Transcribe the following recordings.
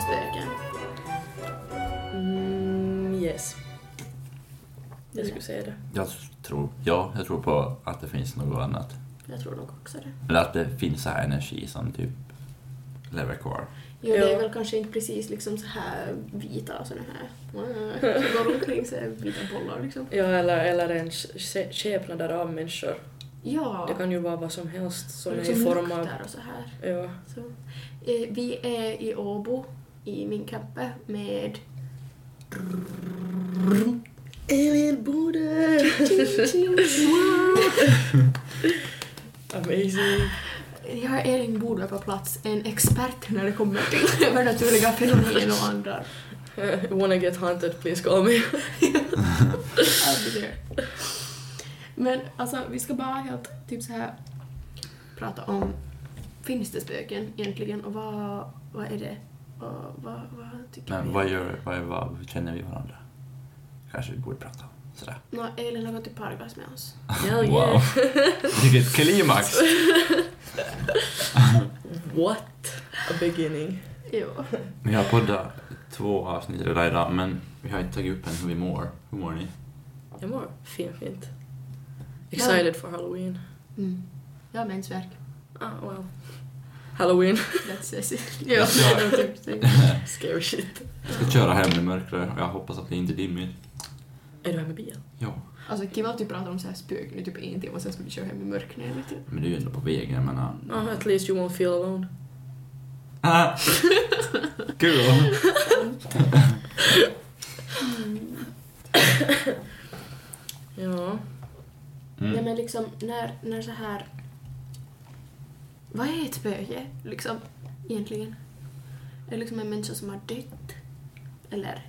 spöken. Mm, yes. Jag skulle säga det. Jag tror, ja, jag tror på att det finns något annat. Jag tror nog också det. Eller att det finns så här energi som typ lever kvar. Jo, det Ja. är väl kanske inte precis liksom så här vita och såna här. äh, Som går omkring så här vita bollar liksom. Ja, eller, eller en sk- skepnader av människor. Det Ja. kan ju vara vad som helst som och är i liksom form av... luktar och så här. Ja. Så, eh, vi är i Åbo i min kappe med Alienbordet! Amazing! Jag har Elin Bodö på plats, en expert när det kommer till övernaturliga fenomen och andra. Wanna get hunted, please call me. I'll be there. Men alltså, vi ska bara helt typ så här prata om finns det spöken egentligen och vad, vad är det? Och vad, vad tycker vi? Men vad gör, vad, vad känner vi varandra? Kanske vi borde prata om sådär. Nå, Elin har gått i Pargas med oss. Hell yeah. Wow. Vilket klimax! What a beginning. Jo. Vi har poddat två avsnitt redan idag, men vi har inte tagit upp än hur vi mår. Hur mår ni? Jag mår fin, fint. Excited for halloween. Mm. Jag har mensvärk. Ah, well. Halloween. That's it. Ja. det var typ så. Scary shit. Jag ska köra hem i mörkret och jag hoppas att det inte är dimmigt. Är du här med bilen? Ja, Alltså Kim har typ pratat om så här spöken i typ en timme och sen ska vi köra hem i mörkret. Lite. men du är ju ändå på vägen, jag menar. Ah, at least you won't feel alone. Ah! Kul! Ja. Nej Mm. men liksom när, när så här... Vad är ett spöke liksom egentligen? Är det liksom en människa som har dött? Eller?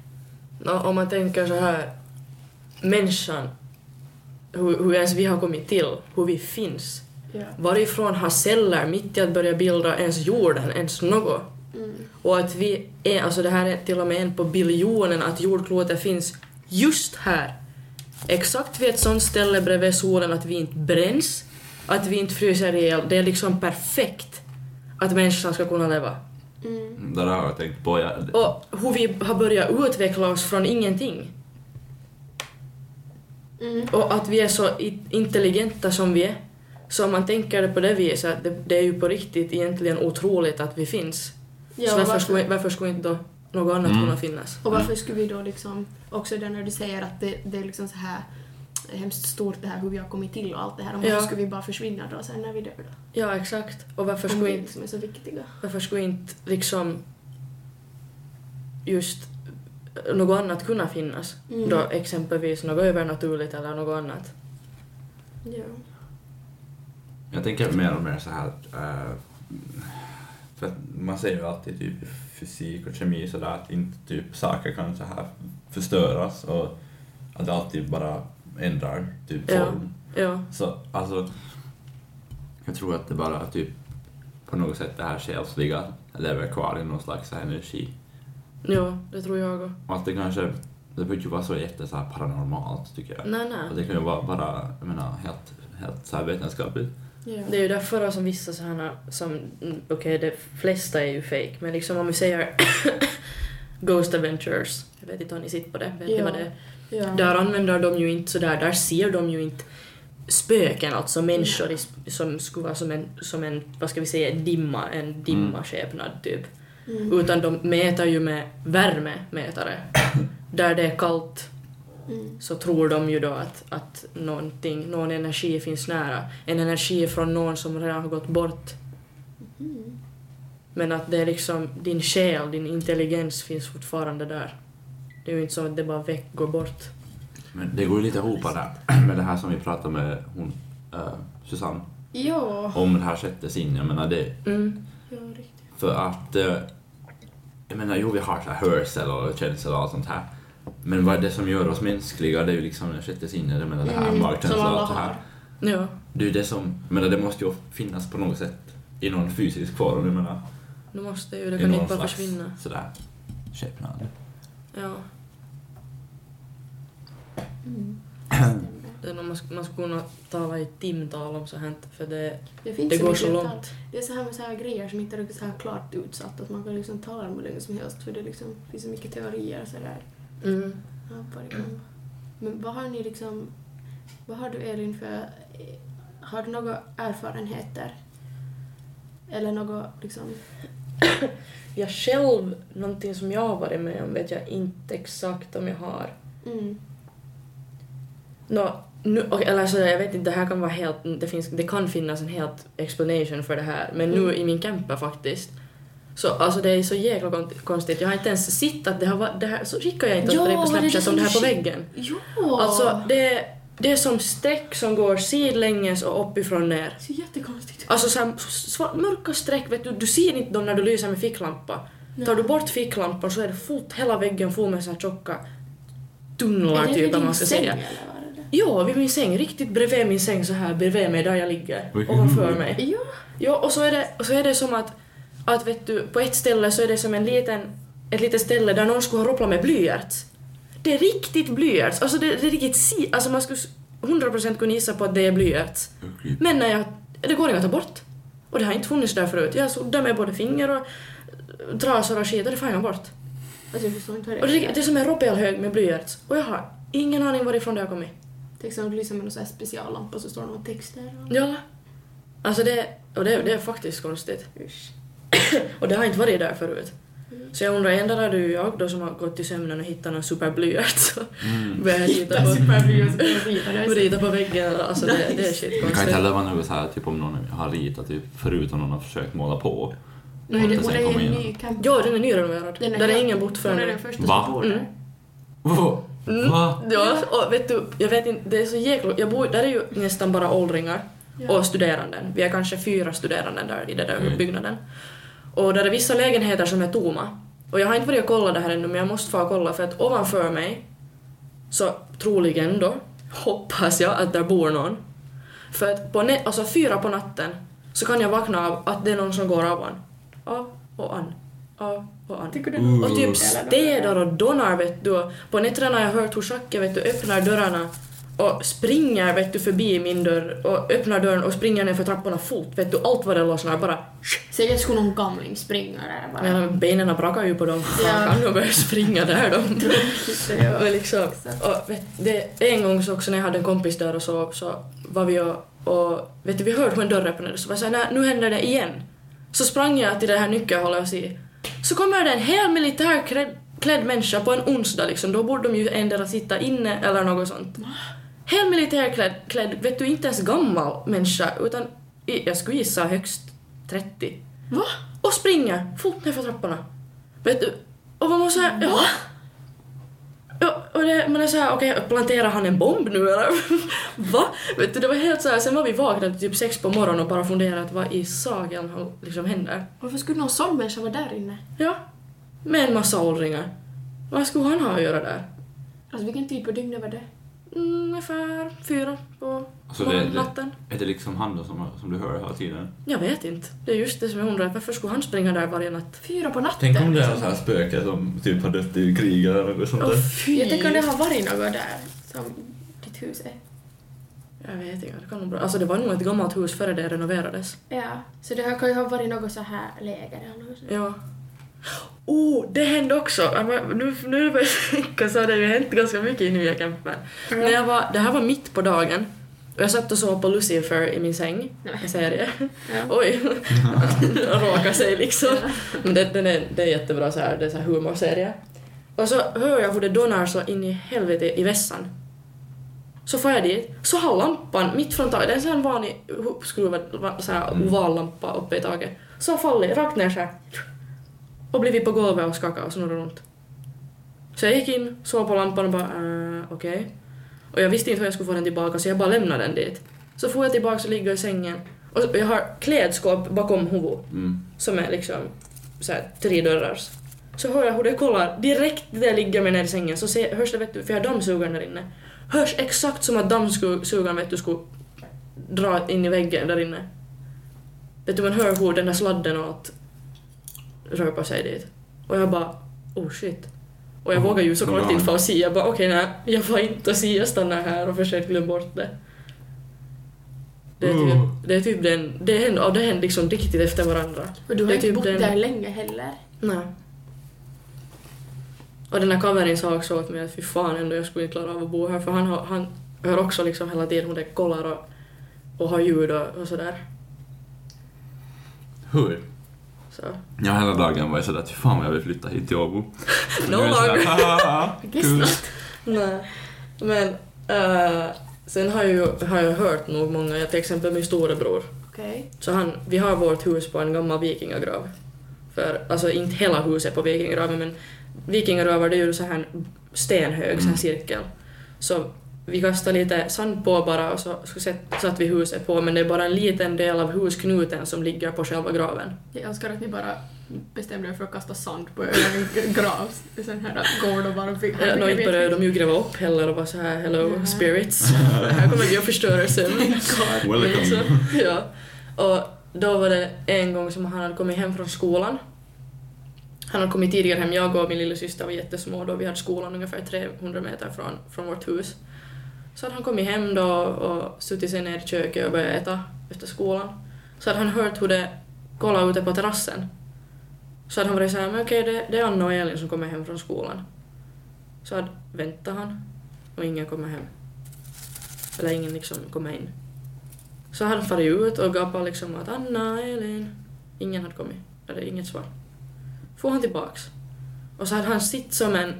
Nå, om man tänker så här, människan, hur, hur ens vi har kommit till, hur vi finns. Ja. Varifrån har celler mitt i att börja bilda ens jorden, ens något? Mm. Och att vi är, alltså det här är till och med en på biljonen, att jordklotet finns just här. Exakt vid ett sånt ställe bredvid solen att vi inte bränns, att vi inte fryser ihjäl. Det är liksom perfekt att människan ska kunna leva. Mm. Det där har jag tänkt på. Jag, Och hur vi har börjat utveckla oss från ingenting. Mm. Och att vi är så i- intelligenta som vi är. Så om man tänker det på det viset, att det, det är ju på riktigt egentligen otroligt att vi finns. Ja, så och varför, varför- Skulle, varför skulle inte då något annat Mm. kunna finnas? Och varför skulle vi då liksom, också där när du säger att det, det är liksom så här hemskt stort det här hur vi har kommit till och allt det här. Och varför Ja. skulle vi bara försvinna då sen när vi dör då? Ja, exakt. Och varför Om skulle vi inte, liksom är så viktiga. varför skulle inte liksom just eh, något annat kunna finnas? Mm. Då exempelvis något övernaturligt eller något annat. Ja. jag tänker mer och mer så här att... eh, för att man säger ju alltid typ i fysik och kemi sådär att inte typ saker kan så här förstöras och att det alltid bara ändrar typ Ja. form. Ja. Så alltså, jag tror att det bara typ på något sätt det här själsliga lever kvar i någon slags så här energi. Ja, det tror jag också. Och att det kanske, det behöver inte vara så jätte så här paranormalt tycker jag. Nej, Och nej. det kan ju vara bara, jag menar, helt, helt så här vetenskapligt. Ja. Det är ju därför då som vissa sådana som, mm, okej de flesta är ju fake, men liksom om vi säger Ghost Adventures, jag vet inte om ni sitter på det, vet ni Ja. vad det är? ja. Där använder de ju inte sådär, där ser de ju inte spöken, alltså människor i, sp- som skulle vara som en, som en, vad ska vi säga, dimma, en dimmaskepnad typ. Mm. Utan de mäter ju med värmemätare. Där det är kallt Mm. så tror de ju då att, att någonting, någon energi finns nära. En energi från någon som redan har gått bort. Mm. Men att det är liksom din själ, din intelligens finns fortfarande där. Det är ju inte som att det bara väck, går bort. Men det går ju lite ihop där med det här som vi pratade med hon, eh, Susanne, Ja. om det här sjätte sinnet. Jag menar, det, Mm. Ja, riktigt. För att... eh, Jag menar, jo vi har så här hörsel och känsel och allt sånt här. Men vad det som gör oss mänskliga, det är ju liksom det sjätte sinnet, jag menar det här Mm, magkänslan som och alla allt det här. har. Ja. Det är ju det som, jag menar det måste ju finnas på något sätt i någon fysisk form, jag menar. Nu måste ju, det i kan någon inte bara försvinna. sådär skepnad. Ja. Mm. Stämmer. Det är nog man, sk- man skulle kunna tala i timtal om så här, för det, Det, finns det går mycket så tal. långt. Det är så här med så här grejer som inte är så här klart utsatt att man kan liksom tala om hur länge som helst för det liksom, finns så mycket teorier och sådär. Mm. Ja, varje gång. Men vad har ni liksom... Vad har du Elin för... Har du några erfarenheter? Eller något liksom... Jag själv, någonting som jag har varit med om vet jag inte exakt om jag har. Mm. Nå, nu, och- eller så jag vet inte, det här kan vara helt, det, finns, det kan finnas en helt explanation för det här. Men nu Mm. i min camper faktiskt. Så alltså det är så jäkla kon- konstigt. Jag har inte ens sett att det har varit, det här, så skickar jag inte åt Ja, dig på det är det Snapchat om det här på som du väggen. Jo! Alltså det, det är som streck som går sidlänges och uppifrån ner. Det ser jättekonstigt ut. Alltså så här, svart, mörka streck, vet du, du ser inte dem när du lyser med ficklampa. Tar du bort ficklampan så är det fullt, hela väggen full med så här tjocka tunnlar Är det typ, vid om man din ska säng säga. eller vad är det? Ja, vid min säng, riktigt bredvid min säng så här bredvid mig där jag ligger, Oj. ovanför mig. Ja. Ja, och så är det, och så är det som att, att vet du, på ett ställe så är det som en liten, ett litet ställe där någon skulle ha ropplat med blyerts. Det är riktigt blyerts, alltså det, det är riktigt si, alltså man skulle s- 100% kunna gissa på att det är blyerts. Men när jag, det går inte att ta bort. Och det har inte funnits där förut. Jag suddar med både finger och trasor och skit och det får jag bort. Alltså jag förstår inte hur Och det det, är. det är som en ropelhög med blyerts. Och jag har ingen aning varifrån det har kommit. Till exempel lyser med någon sån här speciallampa så står det någon text där. och- Ja. Alltså det, och det, det är faktiskt konstigt. Usch. Och det har inte varit där förut. Mm. Så jag undrar, ändå är det ju jag då som har gått till sömnen och hittat någon superblyert så Mm. börjar jag rita på, Superbryr sig. rita på väggen. Alltså det, det är shit Det kan inte konstigt. heller vara något så här, typ om någon har ritat typ, förut och någon har försökt måla på. Nej, det Och och sen det är en kommer in. ny camp. Ja, den är nyrenoverad. Den Där är helt- ingen bott förrän Hon är nu. den första Va? som bor där. Mm. Oh, Mm. va? Ja, och vet du, jag vet inte, det är så jäkla... Jag bor, där är ju nästan bara åldringar Ja. och studeranden. Vi är kanske fyra studerande där i den där Mm. byggnaden. Och där är vissa lägenheter som är tomma. Och jag har inte varit och kollat det här ännu, men jag måste få kolla för att ovanför mig så troligen då, hoppas jag att där bor någon. För att på nä- alltså fyra på natten så kan jag vakna av att det är någon som går av och an. Av och an. Av och an. Tycker du Mm. Och typ städar och donar vet du. Och På nätterna har jag hört hur Jacques vet du öppnar dörrarna och springer vet du förbi min dörr och öppnar dörren och springer ner för trapporna fort vet du. Allt vad det lossnar bara. Säkert skulle någon gamling springa där bara. Men benen brakar ju på dem. Fan kan de börja springa där de. Ja. Och liksom, och vet, det, en gång så också när jag hade en kompis där och så, så var vi och, och vet du, vi hörde hur en dörr öppnades och var såhär, "Nej, nu händer det igen. Så sprang jag till det här nyckelhålet och se. Så kommer det en hel militärklädd klädd människa på en onsdag liksom, då borde de ju endera sitta inne eller något sånt. Hel militärklädd, klädd, vet du, inte ens gammal människa utan i- jag skulle gissa högst 30 Va? och springer fort nerför trapporna. Vet du? Och man måste säga, ja. ja och det, man är såhär, okej planterar han en bomb nu eller? Va? Vet du, det var helt såhär, sen var vi vaknade typ sex på morgonen och bara funderade att vad i sagan har liksom händer? Varför skulle någon sån människa vara där inne? Ja, med en massa åldringar. Vad skulle han ha att göra där? Alltså vilken tid på dygnet var det? Mm, ungefär fyra på Alltså det, det, natten. är det liksom han då som, som du hör hela tiden? Jag vet inte. Det är just det som jag undrar, varför skulle han springa där varje natt? Fyra på natten? Tänk om det är någon liksom. sån här spöke som typ har dött i krig eller något sånt Åh där. fy! Jag tänker om det har varit något där som ditt hus är. Jag vet inte, det kan nog bra. Alltså det var nog ett gammalt hus före det renoverades. Ja, så det här kan ju ha varit något så här läger eller något sånt. Ja. Oh, det hände också! Ja, men Nu, nu börjar jag tänka så har det ju hänt ganska mycket i nya campen. När jag var, det här var mitt på dagen och jag satt och såg på Lucifer i min säng, Nej. en serie. Ja. Oj! Raka sig liksom. Men det, den är, det är jättebra så här, det är så här humorserie. Och så hör jag hur det donar så in i helvete i vässan. Så får jag dit, så har lampan mitt från taket, det är en sån här vanlig uppskruvad va- så här Mm. oval lampa uppe i taket, så har fallit rakt ner så här. Och blivit på golvet och skakat och snurrat runt. Så jag gick in, såg på lampan och bara äh, okej. Och jag visste inte hur jag skulle få den tillbaka så jag bara lämnade den dit. Så får jag tillbaka och ligger i sängen. Och jag har klädskåp bakom huvudet Mm. som är liksom så här, tre dörrars. Så hör jag hur det kollar direkt där jag ligger mig ner i sängen så ser, hörs det vet du, för jag har dammsugaren där inne. Hörs exakt som att dammsugaren vet du skulle dra in i väggen där inne. Vet du man hör hur den där sladden och allt rör på sig dit. Och jag bara oh shit. Och Och jag Mhm. vågar ju såklart Bra. inte få se. Jag bara okej nej, jag får inte se. Jag stannar här och försöker glömma bort det. Det är typ, Mm. det är typ den, det hände, och det hände liksom riktigt efter varandra. Och du har Det är inte typ bott den- där länge heller. Nej. Och den här kaverin sa också åt mig att fy fan ändå jag skulle inte klara av att bo här för han, har, han hör också liksom hela tiden hur det kollar och, och har ljud och, och sådär. Hur? Så. Ja, hela dagen var jag sådär att fan vad jag vill flytta hit till Åbo. No Nu är jag sådär, longer. "Haha, Vilket Kul. Nej. Men eh, sen har jag, ju- har jag hört nog många, jag till exempel min storebror. Okej. Så han, vi har vårt hus på en gammal vikingagrav. För, alltså inte hela huset på vikingagraven men vikingagravar det är ju så här stenhög, så här Mm. cirkel. Så vi kastar lite sand på bara och så, så sätt- satt vi huset på men det är bara en liten del av husknuten som ligger på själva graven. Jag önskar att ni bara bestämde er för att kasta sand på er grav. Sen här går och bara... fick- Eh, Nå inte började de ju gräva upp heller och var så här hello Nej. spirits, här kommer vi att förstöra sen. Så, Welcome. Alltså, ja. Och då var det en gång som han hade kommit hem från skolan. Han hade kommit tidigare hem, jag och min lilla syster var jättesmå då, vi hade skolan ungefär 300 meter från, från vårt hus. Så hade han kommit hem då och suttit sig ner i köket och börjat äta efter skolan. Så hade han hört hur det kollade ute på terrassen. Så hade han varit såhär, men okej det, det är Anna och Elin som kommer hem från skolan. Så hade, väntar han och ingen kommer hem. Eller ingen liksom kommer in. Så han far ut och gapade liksom att Anna, Elin. Ingen hade kommit. Eller inget svar. Får han tillbaks. Och så hade han sitt som en,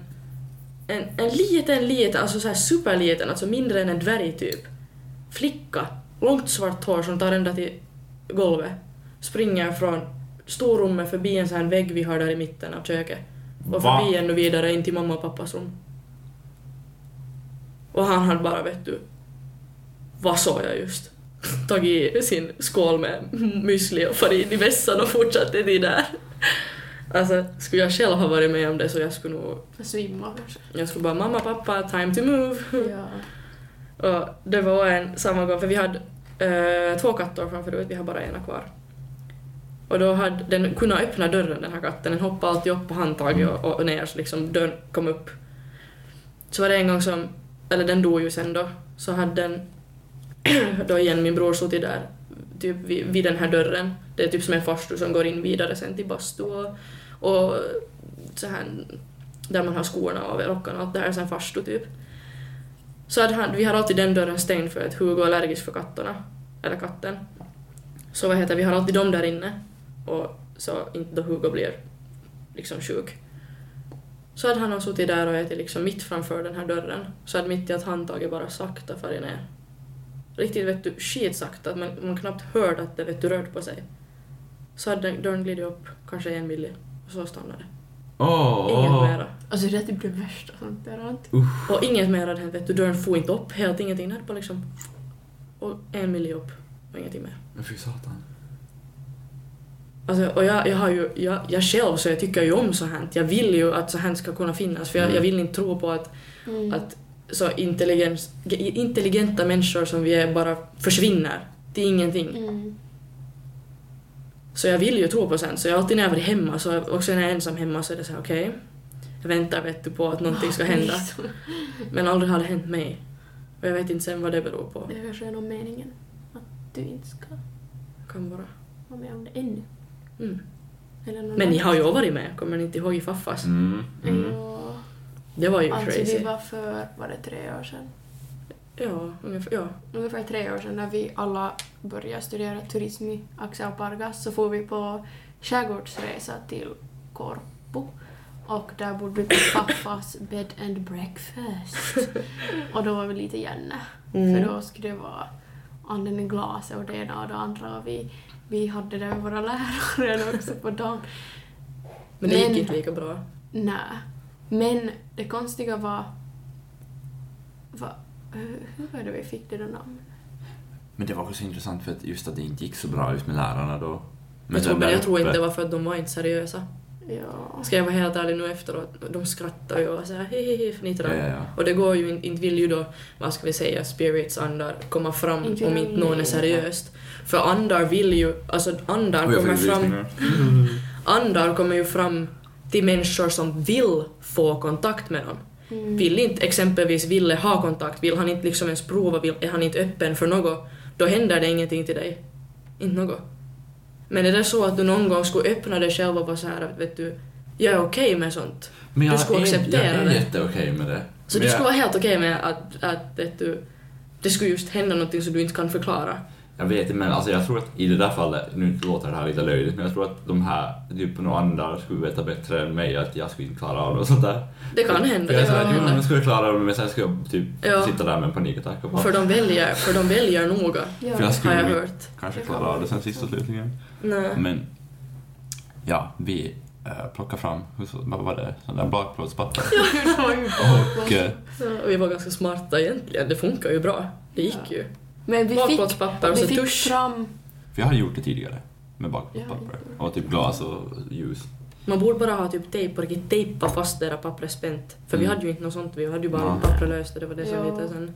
en, en liten, liten, alltså så här superliten, alltså mindre än en dvärg typ. Flicka. Långt svart hår som tar ända till golvet. Springer från storrummet förbi en sån här vägg vi har där i mitten av köket. Och Va? förbi ännu vidare in till mamma och pappas rum. Och han hade bara, vet du, vad sa jag just? Tagit sin skål med müsli och farit in i vässan och fortsatte till där. Alltså, skulle jag själv ha varit med om det så jag skulle nog... Svimma kanske. Jag skulle bara mamma, pappa, time to move. Ja. Och det var en samma gång, för vi hade eh, två katter framförut, vi har bara ena kvar. Och då hade den kunnat öppna dörren, den här katten. Den hoppade alltid upp på handtaget och, och ner, så liksom dörren kom upp. Så var det en gång som, eller den dog ju sen då, så hade den då igen min bror suttit där, typ vid, vid den här dörren. Det är typ som en farstu som går in vidare sen till bastu och, och så här, där man har skorna och rockarna och allt det här, sen farstu typ. Så hade han, vi har alltid den dörren stängd för att Hugo är allergisk för katterna. Eller katten. Så vad heter vi har alltid dem där inne. Och så inte då Hugo blir liksom sjuk. Så hade han suttit där och ätit liksom mitt framför den här dörren. Så hade mitt i att handtaget bara sakta farit ner. Riktigt vet du, skitsakta. att Man, man knappt hörde att det vet du rörde på sig. Så hade den- dörren glidit upp kanske en milli. Och så stannade det. Åh, Inget åh. mera. Alltså det är typ det värsta sånt där. allt. Och inget mer hade hänt, vet du. Dörren får inte upp, helt ingenting. Där på liksom. Och en miljö upp och ingenting mer. Men fy satan. Alltså, och jag, jag har ju, jag, jag själv så jag tycker ju om så här. Jag vill ju att så här ska kunna finnas för jag, Mm. jag vill inte tro på att, Mm. att så intelligens, intelligenta människor som vi är bara försvinner. Det är ingenting. Mm. Så jag vill ju tro på sånt. Så jag alltid när jag varit hemma, så också när jag är ensam hemma så är det så här okej. jag väntar vet du på att någonting ska hända. Men aldrig har det hänt mig. Och jag vet inte sen vad det beror på. Det kanske är nog meningen att du inte ska Kan vara. vara med om det ännu. Mm. Eller någon Men ni annan. har ju varit med, kommer ni inte ihåg i Faffas? Mm, mm. Ja. Det var ju Alltså crazy. vi var för, var det tre år sedan? Ja, ungefär. Ja. Ungefär tre år sedan när vi alla började studera turism i Axel Pargas så får vi på skärgårdsresa till Korpo och där bodde vi på pappas bed and breakfast. Och då var vi lite gärna Mm. för då skulle det vara anden i glaset och det ena och det andra och vi, vi hade det med våra lärare också på dagen. Men det gick Men- inte lika bra. Nej. Men det konstiga var... var hur hur var det vi fick det där namnet? Men det var också intressant för att just att det inte gick så bra ut med lärarna då. Men jag, tror, sen där men jag tror inte uppe- det var för att de var inte seriösa. Ja. Ska jag vara helt ärlig nu efteråt, de skrattar ju och så här hehehe fnittrar. Ja, ja, ja. Och det går ju in- inte, vill ju då, vad ska vi säga, spirits andar komma fram Inte om vill inte någon är de- seriöst. För andar vill ju, alltså andar Och jag liksom- fick kommer fram, visningar. andar kommer ju fram till människor som vill få kontakt med någon. Mm. Vill inte exempelvis Ville ha kontakt, vill han inte liksom ens prova, vill, är han inte öppen för något, då händer det ingenting till dig. Inte något. Men är det så att du någon gång skulle öppna dig själv och vara så här att vet du, jag är okej med sånt. Men Du jag skulle är, acceptera jag är det. jätteokej med det. Så Men du jag- skulle vara helt okej med att, att vet du, det skulle just hända någonting som du inte kan förklara. Jag vet inte, men alltså jag tror att i det där fallet, nu låter det här lite löjligt, men jag tror att de här, typ på några andra skulle veta bättre än mig att jag skulle inte klara av det och sånt där. Det kan hända. Jag Det sa kan att jo, men hända. jag skulle klara av det, men sen skulle jag typ Ja. sitta där med en panikattack och bara, För de väljer, för de väljer noga, Mm, Ja. För jag har skulle jag ju- hört. kanske klara av det sen sist och slutligen. Nej. Men, ja, vi äh, plockar fram, hur så- vad var det, sån där bakplåtspatta. Och, eh, Ja, vi var ganska smarta egentligen. Det funkar ju bra. Det gick ju. Men vi fick, Bakplåtspapper och så vi fick tusch. fram... för jag har gjort det tidigare med bakplåtspapper och typ glas och ljus. Man borde bara ha typ tejp och riktigt tejpa fast det där pappret spänt. För vi Mm. hade ju inte något sånt. Vi hade ju bara Nej. pappret löst och det var det som Ja. lite sen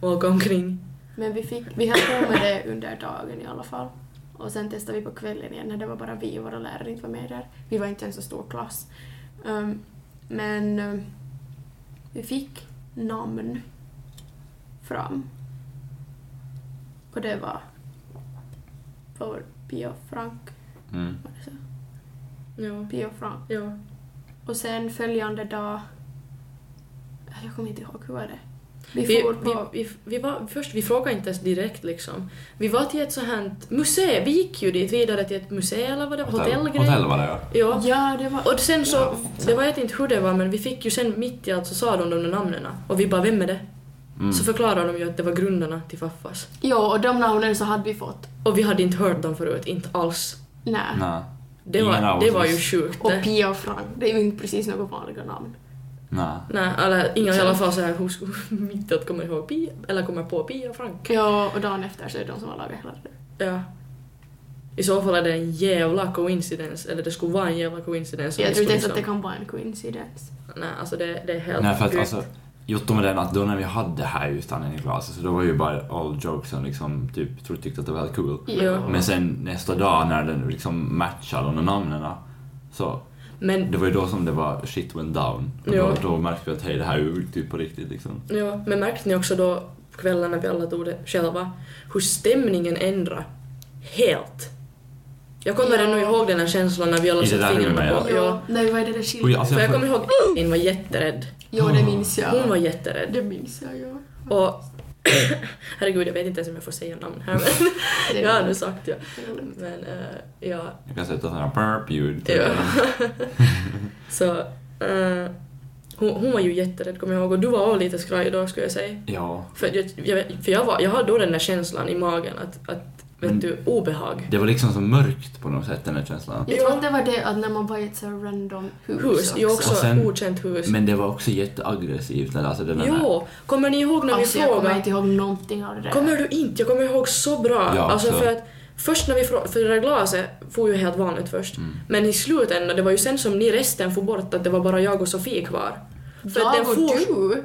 åka omkring. Men vi, fick, vi höll på med det under dagen i alla fall. Och sen testade vi på kvällen igen när det var bara vi och våra lärare inte var med där. Vi var inte en så stor klass. Ehm, men ehm, vi fick namn fram. Och det var för Pia och Frank. Mm. Var det så? Ja. Pia och Frank. ja. Och sen följande dag... Jag kommer inte ihåg, hur var det? Vi, Vi, for vi, på... vi, vi var, först, vi frågade inte ens direkt liksom. Vi var till ett så här museum. Vi gick ju dit vidare till ett museum eller vad det var. Hotellgrej. Hotell var det ja. Ja. Ja, det var... Och sen så, det var jag vet inte hur det var men vi fick ju sen mitt i allt så sa de de där namnen och vi bara vem är det? Mm. Så förklarade de ju att det var grundarna till Faffas. Ja, och de namnen så hade vi fått. Och vi hade inte hört dem förut, inte alls. Nej. Nej. Det Ingen av var, oss det var ju visste. sjukt Och det. Pia och Frank, det är ju inte precis några vanliga namn. Nej. Nej, Typ eller inga i alla fall såhär, hur skulle mitt i att komma ihåg Pia, eller komma på Pia och Frank. Ja, och dagen efter så är det de som har lagat hela det. Ja. I så fall är det en jävla coincidens, eller det skulle vara en jävla coincidens. om Jag vi tror inte skulle ens att det liksom- kan vara en coincidence. Nej, alltså det, det är helt Nej, för att sjukt. alltså, just med den att då när vi hade här just Annie Niklas så då var ju bara all jokes som liksom typ tro- tyckte att det var helt cool. Ja. Men sen nästa dag när den liksom matchade de där namnen så Men, det var ju då som det var shit went down. Och Ja. då, då märkte vi att hej det här är ju typ på riktigt liksom. ja, men märkte ni också då på kvällen när vi alla tog det själva, hur stämningen ändrade helt? Jag kommer Ja. ändå ihåg den här känslan när vi alla I det satte där fingrarna rummet, på. ja. Ja. När vi var i det där Mm. Och jag, skiltet. alltså, För jag jag får- kommer ihåg, in var jätterädd. Oh! Ja, det minns Hon var jag. jätterädd. Det minns jag, ja. Och herregud, jag vet inte ens om jag får säga namn här men Det jag har var- nu sagt ja. det var lugnt. Men eh, ja, jag kan sätta sådana burp-ljud. ja. Så eh, hon, hon var ju jätterädd kommer jag ihåg och du var också lite skraj då skulle jag säga. ja. För jag, jag, för jag, var, jag har då den där känslan i magen att, att vet Men- du, obehag. Det var liksom så mörkt på något sätt den här känslan. Jag tror att det var det att när man var i ett så här random hus, Hus, jag också Och sen- okänt hus. Men det var också jätteaggressivt. eller Alltså den här, Jo, kommer ni ihåg när vi Alltså jag kommer frågade? inte ihåg någonting av det där. Kommer du inte? Jag kommer ihåg så bra. Ja, alltså så. för att först när vi frå- för det där glaset får ju helt vanligt först. Mm. Men i slutändan, det var ju sen som ni resten får bort att det var bara jag och Sofie kvar. För att den Jag och for... du!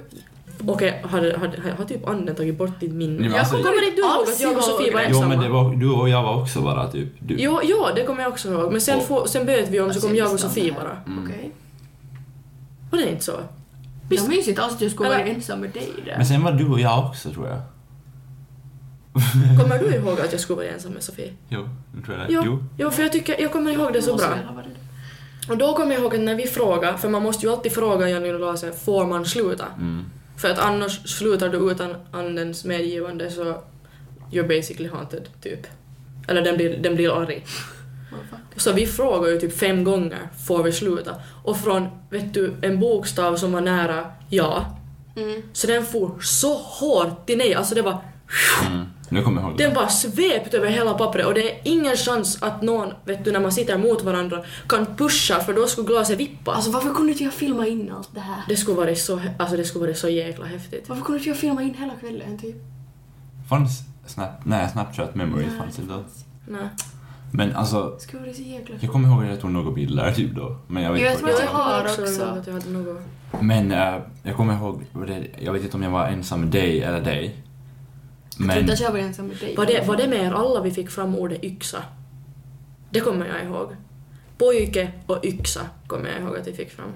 Okej, har, har, har, har typ anden tagit bort ditt minne? Nej, men alltså- kommer inte du ihåg att alls jag och ihåg Sofie var det. jo ensamma? men det var, du och jag var också bara typ du. Jo, jo, det kommer jag också ihåg. Men sen, Och- får, sen böt vi om så Alltså, kom jag och visste om Sofie det här. bara. Okej. Var det inte så? Visst. Jag minns inte alls att jag skulle vara Eller- ensam med dig där. Men sen var du och jag också tror jag. Kommer du ihåg att jag skulle vara ensam med Sofie? Jo, nu tror jag det. Jo, Äh, Jo. jo för jag tycker, jag kommer ihåg det så Måste bra. väl ha varit det. Och då kommer jag ihåg att när vi frågade, för man måste ju alltid fråga Johnny och Lasse, får man sluta? Mm. För att annars slutar du utan andens medgivande så you're basically haunted, typ. Eller den blir, den blir arg. Oh, fuck. Så vi frågade ju typ fem gånger, får vi sluta? Och från, vet du, en bokstav som var nära ja, Mm. så den for så hårt till nej, alltså det var Mm. Nu kommer jag ihåg det. den bara svept över hela pappret och det är ingen chans att någon, vet du, när man sitter mot varandra kan pusha för då skulle glaset vippa. Alltså varför kunde inte jag filma in allt det här? Det skulle varit så, alltså det skulle varit så jäkla häftigt. Varför kunde inte jag filma in hela kvällen typ? Fanns Snap... Nej, Snapchat memory Nej, fanns inte. fanns. Nej. Men alltså, Det skulle vara så jäkla jag kommer ihåg att jag tog några bilder typ då. Men jag vet Jag inte tror vad att det jag var. har kommer också. ihåg Att jag hade något. Men eh, jag kommer ihåg, vad det, jag vet inte om jag var ensam med dig eller dig. Jag tror Men inte att jag var ensam med dig. Var, det, var det med er alla vi fick fram ordet yxa? Det kommer jag ihåg. Pojke och yxa kommer jag ihåg att vi fick fram.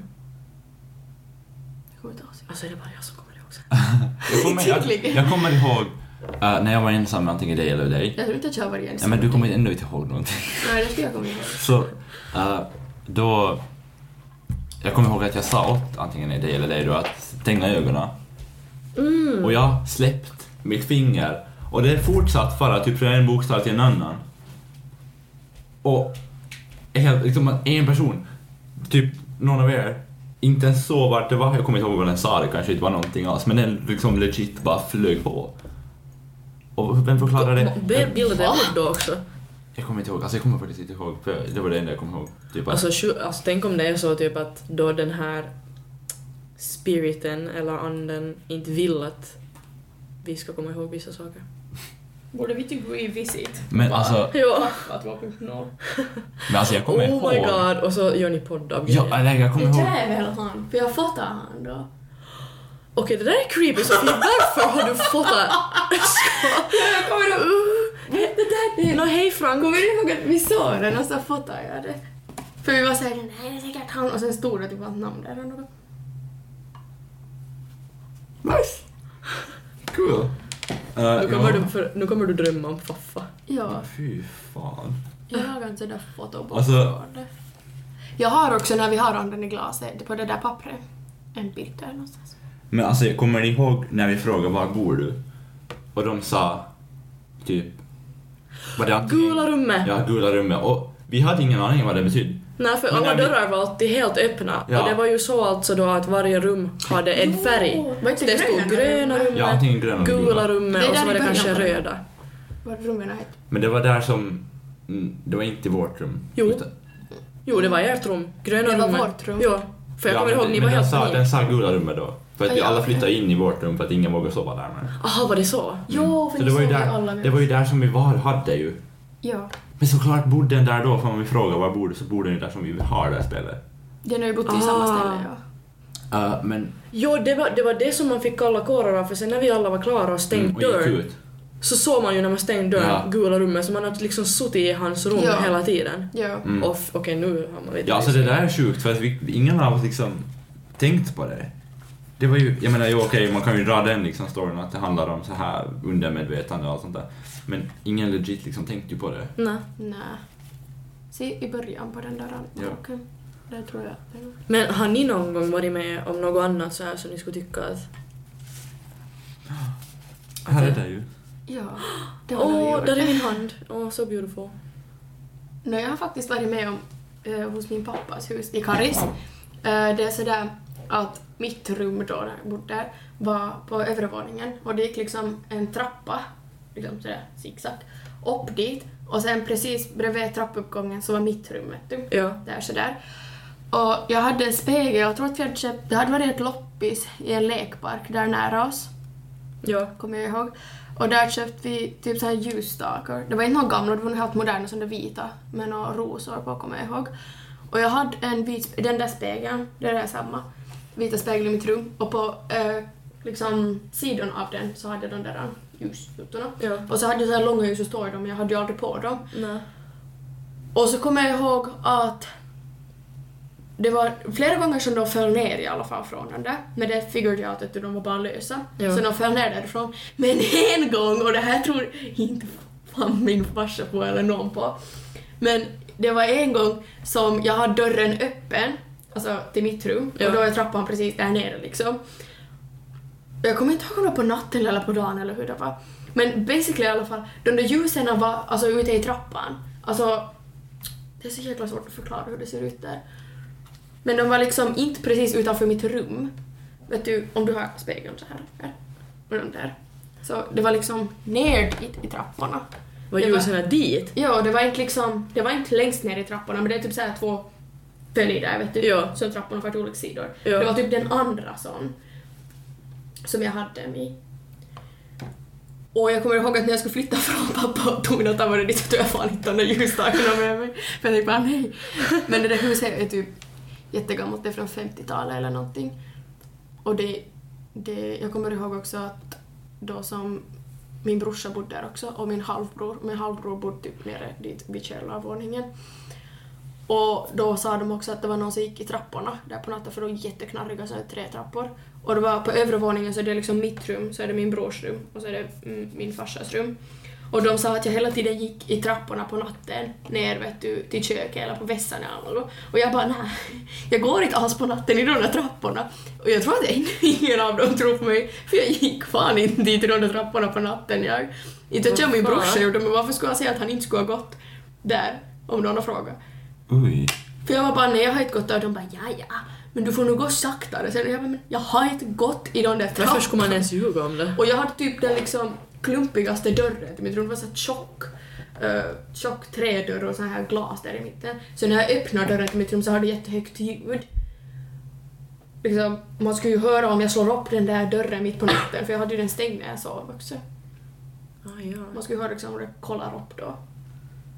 Jag kommer inte alls ihåg. Alltså är det bara jag som kommer ihåg också? Jag kommer, jag, jag kommer ihåg eh, när jag var ensam med antingen dig eller dig. Jag tror inte att jag var ensam. Ja, men du kommer ändå inte ihåg någonting. Nej, det ska jag komma ihåg. Så eh, då... Jag kommer ihåg att jag sa åt antingen dig eller dig då att stänga ögonen. Mm. Och jag släppt mitt finger och det fortsatt falla typ från en bokstav till en annan. Och helt, liksom att en person, typ någon av er, inte ens så vart det var, jag kommer inte ihåg vad den sa, det kanske inte var någonting alls, men den liksom legit bara flög på. Och vem förklarar det? Be- Bilden ord då också. Jag kommer inte ihåg, alltså jag kommer faktiskt inte ihåg, för det var det enda jag kommer ihåg. Typ att, Alltså, tju- alltså tänk om det är så typ att då den här spiriten eller anden inte vill att vi ska komma ihåg vissa saker. Borde vi typ gå i visit? men, alltså, Ja. Att 2.0. men alltså jag kommer ihåg. Oh my god! Och så gör ni podd av grejer. Ja, äh. nej, jag Det kommer ihåg. där är väl han? För jag fotar han då. Okej, det där är creepy Sofie. Varför har du fotat? Jag kommer ihåg... Det där, det Nå hej Frank. Kommer du ihåg att vi såg den och så fotade jag det? För vi var såhär, nej det är säkert han och sen stod det typ hans namn där eller något. Nice! Cool. Uh, Nu kommer, du, för, nu kommer du drömma om Faffa. Ja, Ah, Fy fan. jag har inte sådär foto på Alltså- det. Jag har också när vi har anden i glaset, på det där pappret, en bild där någonstans. Men alltså, jag kommer ni ihåg när vi frågade var bor du? Och de sa typ... Var det antingen- Gula rummet. Ja, gula rummet. Och vi hade ingen aning om vad det betydde. Nej, för Men alla när vi- dörrar var alltid helt öppna. Ja. Och det var ju så alltså då att varje rum hade en färg. Var Så inte det stod gröna rummet, Ja, antingen gröna eller gula gula. rummet Det och där så var i det början kanske var det. röda. Vad rummen hette. Men det var där som... mm, Det var inte vårt rum. Jo. Utan- Jo, det var ert rum. Gröna Det var rummet. vårt rum. Ja, för jag Ja, kommer men ihåg, det- ni men var den helt sa, Den panik. sa gula rummet då. För att Ja, vi ja, alla okej. flyttade in i vårt rum för att ingen vågade sova där. Men. Jaha, var det så? Jo, för Så ni det var, ju såg ju där, alla det var ju där som vi var, hade ju. Ja. Men såklart bodde den där då, för om vi frågar var bor du så bor den ju där som vi har det här spelet. Den har ju bott i samma Ah. ställe ja. Uh, men... Jo, det var, det var det som man fick kalla kårar av, för sen när vi alla var klara och stängde Mm, och gick dörren ut. så såg man ju när man stängde dörren, Ja. gula rummet, så man hade liksom suttit i hans rum Ja. hela tiden. Ja. Mm. Och f- okej, nu har man lite... Ja, alltså det där är sjukt för att vi, ingen av oss liksom tänkt på det. Det var ju, jag menar ju okej, man kan ju dra den liksom storyn att det handlar om så här undermedvetande och allt sånt där. Men ingen legit liksom tänkte ju på det. Nej. Nej. Se i början på den där Ja. andboken. Där tror jag. det var. Men har ni någon gång varit med om något annat så här som ni skulle tycka att Här är det ju. Ja. Det har Åh, vi gjort. där är min hand. Åh, så beautiful. Nej, jag har faktiskt varit med om eh, hos min pappas hus i Karis. Eh, det är sådär att mitt rum då, när jag bodde där, var på övervåningen och det gick liksom en trappa, liksom sådär zigzag, upp dit och sen precis bredvid trappuppgången så var mitt rum, vet du. Ja. Där sådär. Och jag hade en spegel, jag tror att vi hade köpt, det hade varit ett loppis i en lekpark där nära oss Ja. kommer jag ihåg. Och där köpte vi typ så här ljusstakar. Det var inte några gamla, det var nog helt moderna som det vita med några rosor på kommer jag ihåg. Och jag hade en vit, spe- den där spegeln, det är samma, vita spegel i mitt rum och på eh, liksom sidan av den så hade jag de där ljusnotorna. Ja. Och så hade jag så här långa ljus och står i dem, men jag hade ju aldrig på dem. Nej. Och så kommer jag ihåg att det var flera gånger som de föll ner i alla fall från den där. Men det figured jag out att de var bara lösa. Ja. Så de föll ner därifrån. Men en gång, och det här tror inte fan min farsa på eller någon på. Men det var en gång som jag har dörren öppen, alltså till mitt rum. Ja. Och då är trappan precis där nere liksom. Jag kommer inte ihåg om det var på natten eller på dagen eller hur det var. Men basically i alla fall, de där ljusen var alltså ute i trappan. Alltså, det är så jäkla svårt att förklara hur det ser ut där. Men de var liksom inte precis utanför mitt rum. Vet du, om du har spegeln så här. här och den där. Så det var liksom ner dit i trapporna. Var Det var- ljusen här dit? Ja, det var inte liksom, det var inte längst ner i trapporna men det är typ så här två följer där vet du. Ja. Så trapporna var till olika sidor. Ja. Det var typ den andra sån. Som jag hade den i. Och jag kommer ihåg att när jag skulle flytta från pappa och tog mina tavlor dit så tog jag fan inte de där ljusstakarna med mig. För jag tänkte bara nej. Men det där huset är typ jättegammalt, det är från 50-talet eller någonting. Och det, det, jag kommer ihåg också att då som min brorsa bodde där också och min halvbror. Min halvbror bodde typ nere dit vid källarvåningen. Och då sa de också att det var någon som gick i trapporna där på natten för de är jätteknarriga så är det tre trappor. Och det var på övre våningen så är det liksom mitt rum, så är det min brors rum och så är det mm, min farsas rum. Och de sa att jag hela tiden gick i trapporna på natten ner vet du, till köket eller på vässan eller något. Och jag bara nej, jag går inte alls på natten i de där trapporna. Och jag tror att ingen av dem tror på mig för jag gick fan inte dit i de där trapporna på natten. Jag, inte att jag och min Vad fan? brorsa gjorde men varför skulle han säga att han inte skulle ha gått där om någon har frågat? Oj. För jag var bara nej, jag har inte gått där. Och de bara ja, ja, men du får nog gå saktare. Sen jag bara, men jag har inte gått i de där Varför skulle man trapporna. ens ljuga om det? Och jag hade typ den liksom klumpigaste dörren till mitt rum. Det var så här tjock, uh, tjock trädörr och så här glas där i mitten. Så när jag öppnade dörren till mitt rum så hade jag jättehögt ljud. Liksom, man skulle ju höra om jag slår upp den där dörren mitt på natten för jag hade ju den stängd när jag sov också. Ah, ja. Man skulle ju höra liksom om det kollar upp då.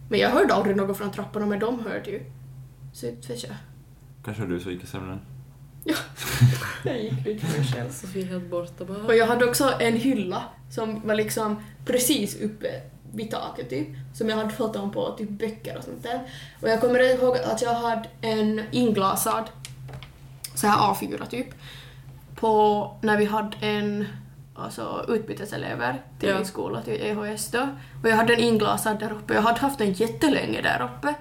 Men jag hörde aldrig något från trapporna men de hörde ju. Så inte vet jag. Kanske du som gick i sömnen? Jag gick dit för mig själv. Sofie är helt borta Och bara. jag hade också en hylla som var liksom precis uppe vid taket typ, som jag hade fått om på typ böcker och sånt där. Och jag kommer ihåg att jag hade en inglasad så här A4 typ, på när vi hade en alltså, utbyteselever till Ja. min skola, till EHS då. Och jag hade en inglasad där uppe. Jag hade haft den jättelänge där uppe.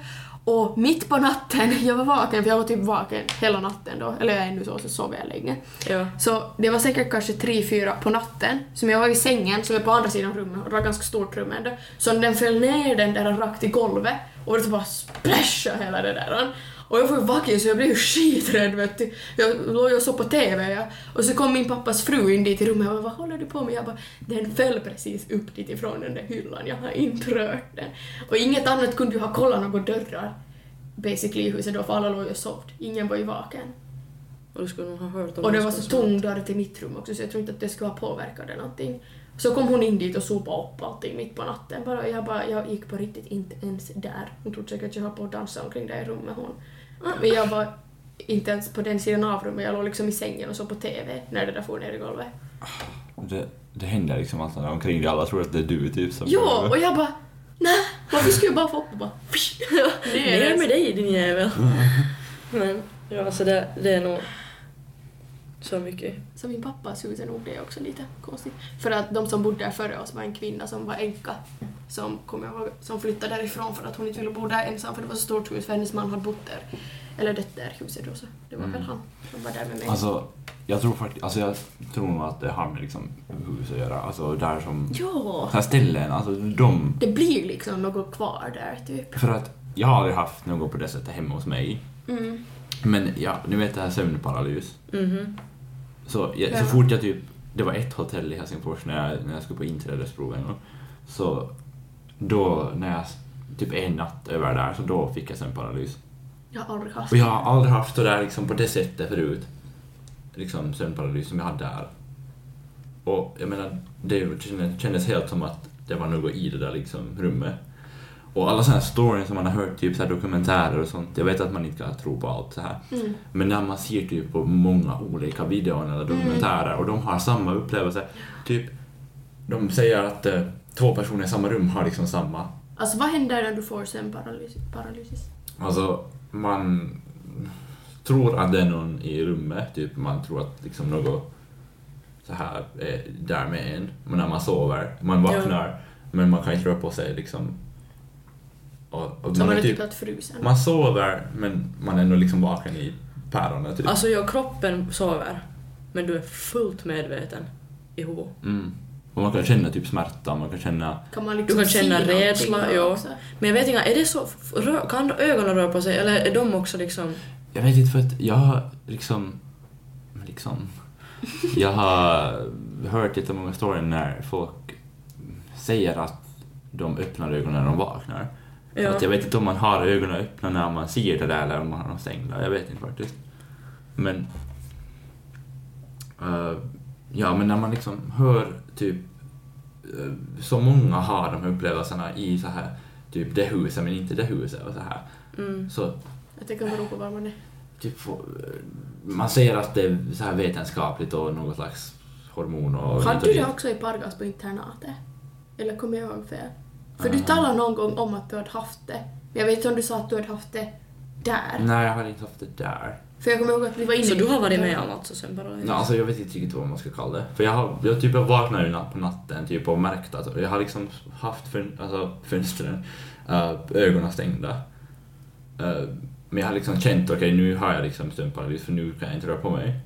Och mitt på natten, jag var vaken, för jag var typ vaken hela natten då, eller jag är ännu så, så sov jag länge. Ja. Så det var säkert kanske tre fyra på natten som jag var i sängen som är på andra sidan rummet och det var ganska stort rum ändå. Så den föll ner den där rakt i golvet och det bara splashade hela det där. Och jag var ju vaken så jag blev ju skiträdd vet du. Jag låg och såg på TV ja. och så kom min pappas fru in dit i rummet och bara, vad håller du på med? Jag bara den föll precis upp dit ifrån den där hyllan, jag har inte rört den. Och inget annat kunde ju ha kollat några dörrar basically i huset då för alla låg ju och sov. Ingen var ju vaken. Och du skulle nog ha hört om Och det det var skulle så vara tung dörr till mitt rum också så jag tror inte att det skulle ha påverkat det någonting. Så kom hon in dit och sopade upp allting mitt på natten. Bara, jag, bara, jag gick på riktigt inte ens där. Hon trodde säkert att jag höll på att dansa omkring där i rummet hon. Men jag var inte ens på den sidan av rummet. Jag låg liksom i sängen och såg på TV när det där for ner i golvet. Det, det händer liksom allt sånt omkring dig. Alla tror att det är du typ som... Jo, och jag bara nej, varför skulle jag bara få upp och bara fisch? Det är Ner det. med dig din jävel! Men ja, alltså det, det är nog så mycket. Så min pappas hus är nog det också lite konstigt. För att de som bodde där före oss var en kvinna som var änka. Som, kom jag ihåg, som flyttade därifrån för att hon inte ville bo där ensam för det var så stort hus för hennes man hade bott där. Eller det där huset då så. Det var väl Mm. han som var där med mig. Alltså, jag tror faktiskt... Alltså jag tror nog att det har med liksom hus att göra. Alltså där som... ja! Så här ställen, alltså de... Det blir liksom något kvar där typ. För att jag har aldrig haft något på det sättet hemma hos mig. Mm. Men ja, ni vet det här sömnparalys. Mhm. Så, jag, Ja. så fort jag typ... Det var ett hotell i Helsingfors när jag, när jag skulle på inträdesproven. Så då när jag s- typ en natt över där, så då fick jag sömnparalys. Jag har aldrig haft Och jag har aldrig haft det där liksom på det sättet förut. Liksom sömnparalys som jag hade där. Och jag menar, det kändes- kändes helt som att det var något i det där liksom rummet. Och alla sådana här stories som man har hört, typ så här dokumentärer och sånt, jag vet att man inte kan tro på allt så här. Mm. Men när man ser typ på många olika videon eller dokumentärer och de har samma upplevelse, typ de säger att eh, två personer i samma rum har liksom samma Alltså vad händer när du får sömnparalys? paralysis? Alltså, man tror att det är någon i rummet, typ man tror att liksom något så här är där med en. Men när man sover, man vaknar, men man kan inte röra på sig liksom. Och, och Som man, man är är typ, typ att frusen. man sover, men man är nog liksom vaken i päronen typ. Alltså jag, kroppen sover, men du är fullt medveten i huvudet. Mm. Och man kan känna typ smärta, man kan känna... Kan man liksom Du kan känna se någonting rädsla, då ja. också? Men jag vet inte, är det så, rö- kan ögonen röra på sig eller är de också liksom... Jag vet inte för att jag har liksom... Liksom... Jag har hört jättemånga storyn när folk säger att de öppnar ögonen när de vaknar. Ja. Att jag vet inte om man har ögonen öppna när man ser det där eller om man har dem stängda. Jag vet inte faktiskt. Men... eh, ja, men när man liksom hör typ... eh, så många har de här upplevelserna i så här typ det huset men inte det huset och så här. Mm. Så Att det kan bero på var man är. typ, få- man säger att det är så här vetenskapligt och något slags hormon och... Hade du det också i Pargas på internatet? Eller kommer jag ihåg fel? För du Ah. talade någon gång om att du hade haft det. Men jag vet inte om du sa att du hade haft det där. Nej, jag har inte haft det där. För jag kommer ihåg att vi var inne Så i- du har varit med om alltså sen bara? Mm. Ja, alltså jag vet inte riktigt vad man ska kalla det. För jag har, jag typ har vaknat ju natt på natten typ och märkt att jag har liksom haft fön, alltså, fönstren, eh, ögonen stängda. Eh, men jag har liksom känt, okej nu har jag liksom sömnparalys för nu kan jag inte röra på mig.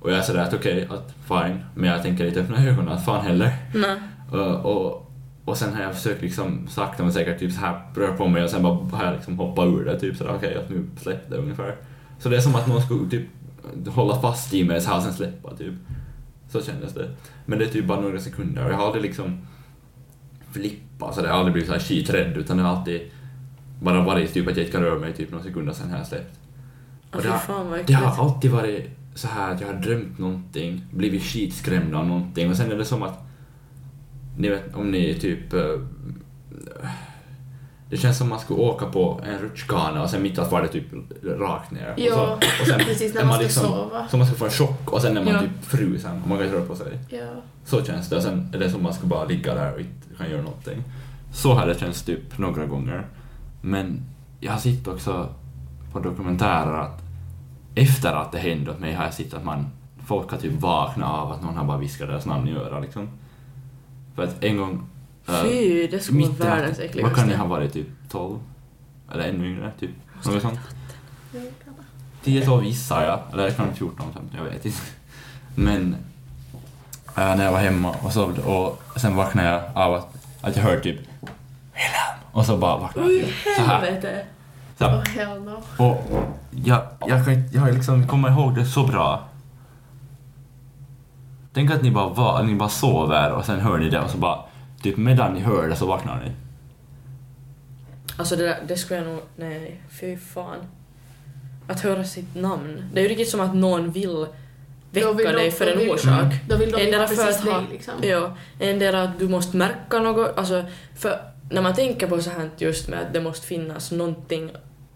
Och jag är sådär att okej, att fine, men jag tänker inte öppna ögonen, att fan heller. Nej. Eh, och, och sen har jag försökt liksom sakta men säkert typ så här röra på mig och sen bara har jag liksom hoppat ur det typ sådär okej att nu släpp det ungefär. Så det är som att någon skulle typ hålla fast i mig så här och sen släppa typ. Så kändes det. Men det är typ bara några sekunder och jag har aldrig liksom flippat så det har aldrig blivit så här skiträdd utan det har alltid bara varit typ att jag inte kan röra mig typ några sekunder sen har jag släppt. Ja, Och fy det har- Alltså, fan vad Det äckligt. har alltid varit så här att jag har drömt någonting, blivit skitskrämd av någonting och sen är det som att ni vet om ni typ eh, det känns som man skulle åka på en rutschkana och sen mitt allt var det typ rakt ner. Ja, och så, och sen precis, när är liksom- man ska sova. Så man ska få en chock och sen är man Ja. typ frusen och man kan inte röra på sig. Ja. Så känns det. Och sen är det som man ska bara ligga där och inte kan göra någonting. Så har det känts typ några gånger. Men jag har sett också på dokumentärer att efter att det hände åt mig har jag sett att man, folk har typ vaknat av att någon har bara viskat deras namn i örat liksom. För att en gång... eh, Fy, det skulle vara mitt i natten- världens Vad kan det äckligaste. ha varit? Typ 12? Eller ännu yngre? Typ något sånt. Ja, grabbar. 10-12 gissar jag, eller kanske 14, 15, jag vet inte. Men eh, när jag var hemma och sov och sen vaknade jag av att, att jag hörde typ Wilhelm och så bara vaknade jag Oj, till så här. helvete! Så Åh, här. hell no. Och jag, jag, kan, inte- jag liksom kommer ihåg det så bra. Tänk att ni bara, var, ni bara sover och sen hör ni det och så bara typ medan ni hör det så vaknar ni. Alltså det, där, det skulle jag nog... Nej, fy fan. Att höra sitt namn. Det är ju riktigt som att någon vill väcka Då vill de- dig för då en vill- orsak. Då vill de Endera ha för precis att ha- dig liksom. Ja, endera att du måste märka något. Alltså, för när man tänker på så här just med att det måste finnas någonting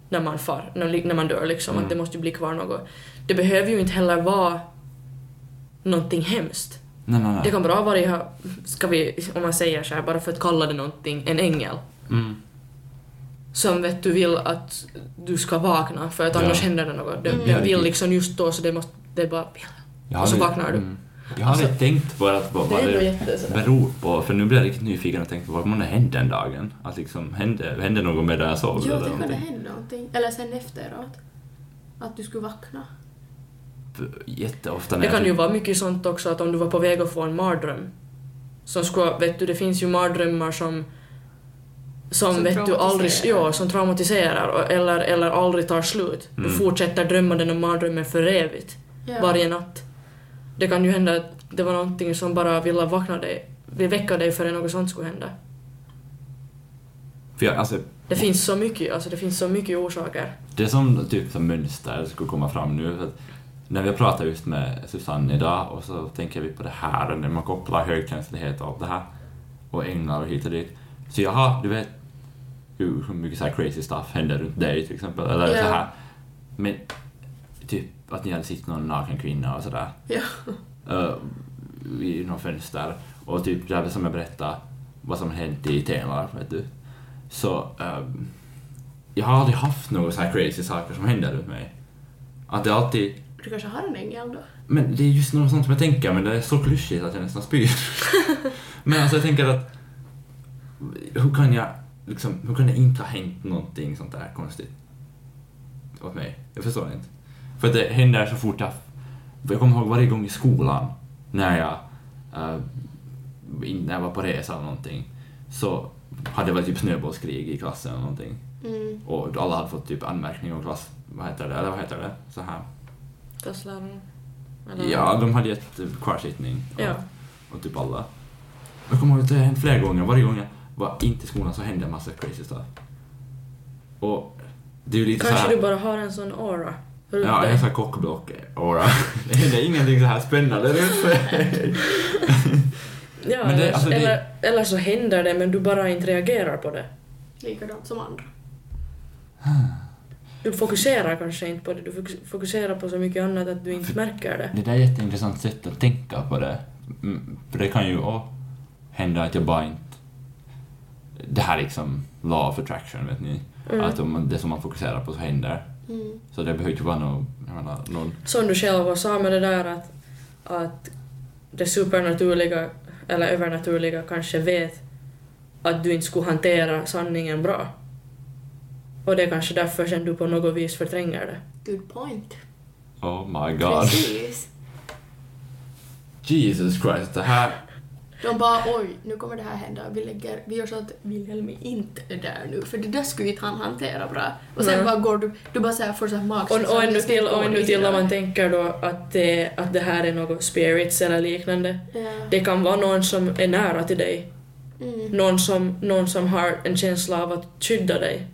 när man far, när när man dör liksom, Mm. att det måste ju bli kvar något. Det behöver ju inte heller vara någonting hemskt. Nej, nej, Det nej. kan bra vara, i ha- ska vi, om man säger så här, bara för att kalla det någonting, en ängel Mm. som vet du vill att du ska vakna för att Ja. annars händer det något. Den, Mm. den vill liksom just då så det måste, det är bara Jag har Och så aldrig- vaknar du. Alltså- Mm. Jag har aldrig tänkt på att, vad, vad det jätte sådär. beror på, för nu blir jag riktigt nyfiken och tänkte vad kommer det hända den dagen? Att liksom, hände, hände något med det jag sov Ja, eller det kunde någonting? hända någonting. Eller sen efteråt. Att du skulle vakna. Jätteofta när Det kan jag typ- ju vara mycket sånt också att om du var på väg att få en mardröm som ska, vet du, det finns ju mardrömmar som som, Som vet du aldrig, traumatiserar. ja, som traumatiserar och- eller, eller aldrig tar slut. Du Mm. fortsätter drömma den om mardrömmen för evigt, Ja. varje natt. Det kan ju hända att det var någonting som bara ville vakna dig, vill väcka dig före något sånt skulle hända. För jag, alltså, Det finns så mycket, alltså det finns så mycket orsaker. det är som typ som mönster skulle komma fram nu. För att när vi pratar just med Susanne idag och så tänker vi på det här och när man kopplar högkänslighet och allt det här och änglar och hit och dit. Så jag har, du vet hur hur mycket så här crazy stuff händer runt dig till exempel. Eller Ja. så här. Men typ att ni hade sett någon naken kvinna och sådär. Ja. eh, i något fönster och typ det här som jag berättade vad som hänt i Tenlar, vet du. Så eh, jag har aldrig haft några så här crazy saker som händer runt mig. Att det alltid Du kanske har en ängel då? men det är just något sånt som jag tänker, men det är så klyschigt att jag nästan spyr. men alltså jag tänker att hur kan jag liksom, hur kan det inte ha hänt någonting sånt där konstigt åt mig? Jag förstår inte. För att det händer så fort jag... för Jag kommer ihåg varje gång i skolan när jag, eh, in- när jag var på resa eller någonting så hade det varit typ snöbollskrig i klassen eller någonting Mm. och alla hade fått typ anmärkning och klass... Vad heter det? Eller vad heter det? Så här. Klassläraren? Ja, de hade gett eh, kvarsittning. Ja. Och typ alla. Jag kommer ihåg att det har hänt flera gånger. Varje gång jag var inte i skolan så hände en massa crazy stuff. Och det är ju lite så Kanske här... du bara har en sån aura runt Ja, jag är dig. såhär kockblock aura. Det händer ingenting så här spännande runt mig. Ja, Men det- eller, alltså det- eller, eller så händer det men du bara inte reagerar på det. Likadant som andra. Du fokuserar kanske inte på det, du fokus- fokuserar på så mycket annat att du inte märker det. Det där är ett jätteintressant sätt att tänka på det. Mm, För det kan ju också hända att jag bara inte... det här liksom law of attraction, vet ni? Mm. Att om man, det som man fokuserar på så händer. Mm. Så det behöver ju inte vara någon, jag menar, någon Som du själv sa med det där att, att det supernaturliga eller övernaturliga kanske vet att du inte skulle hantera sanningen bra. Och det är kanske därför sen du på något vis förtränger det. Good point. Oh my god. Precis. Jesus Christ, det här... De bara oj, nu kommer det här hända. Vi, lägger, vi gör så att Wilhelm inte är där nu, för det där skulle inte han hantera bra. Och sen Nej. bara går du, du bara såhär får såhär Och, magkänsla. och ännu till, och ännu till om man tänker då att det, att det här är något spirits eller liknande. Ja. Det kan vara någon som är nära till dig. Mm. Någon som, någon som har en känsla av att skydda dig.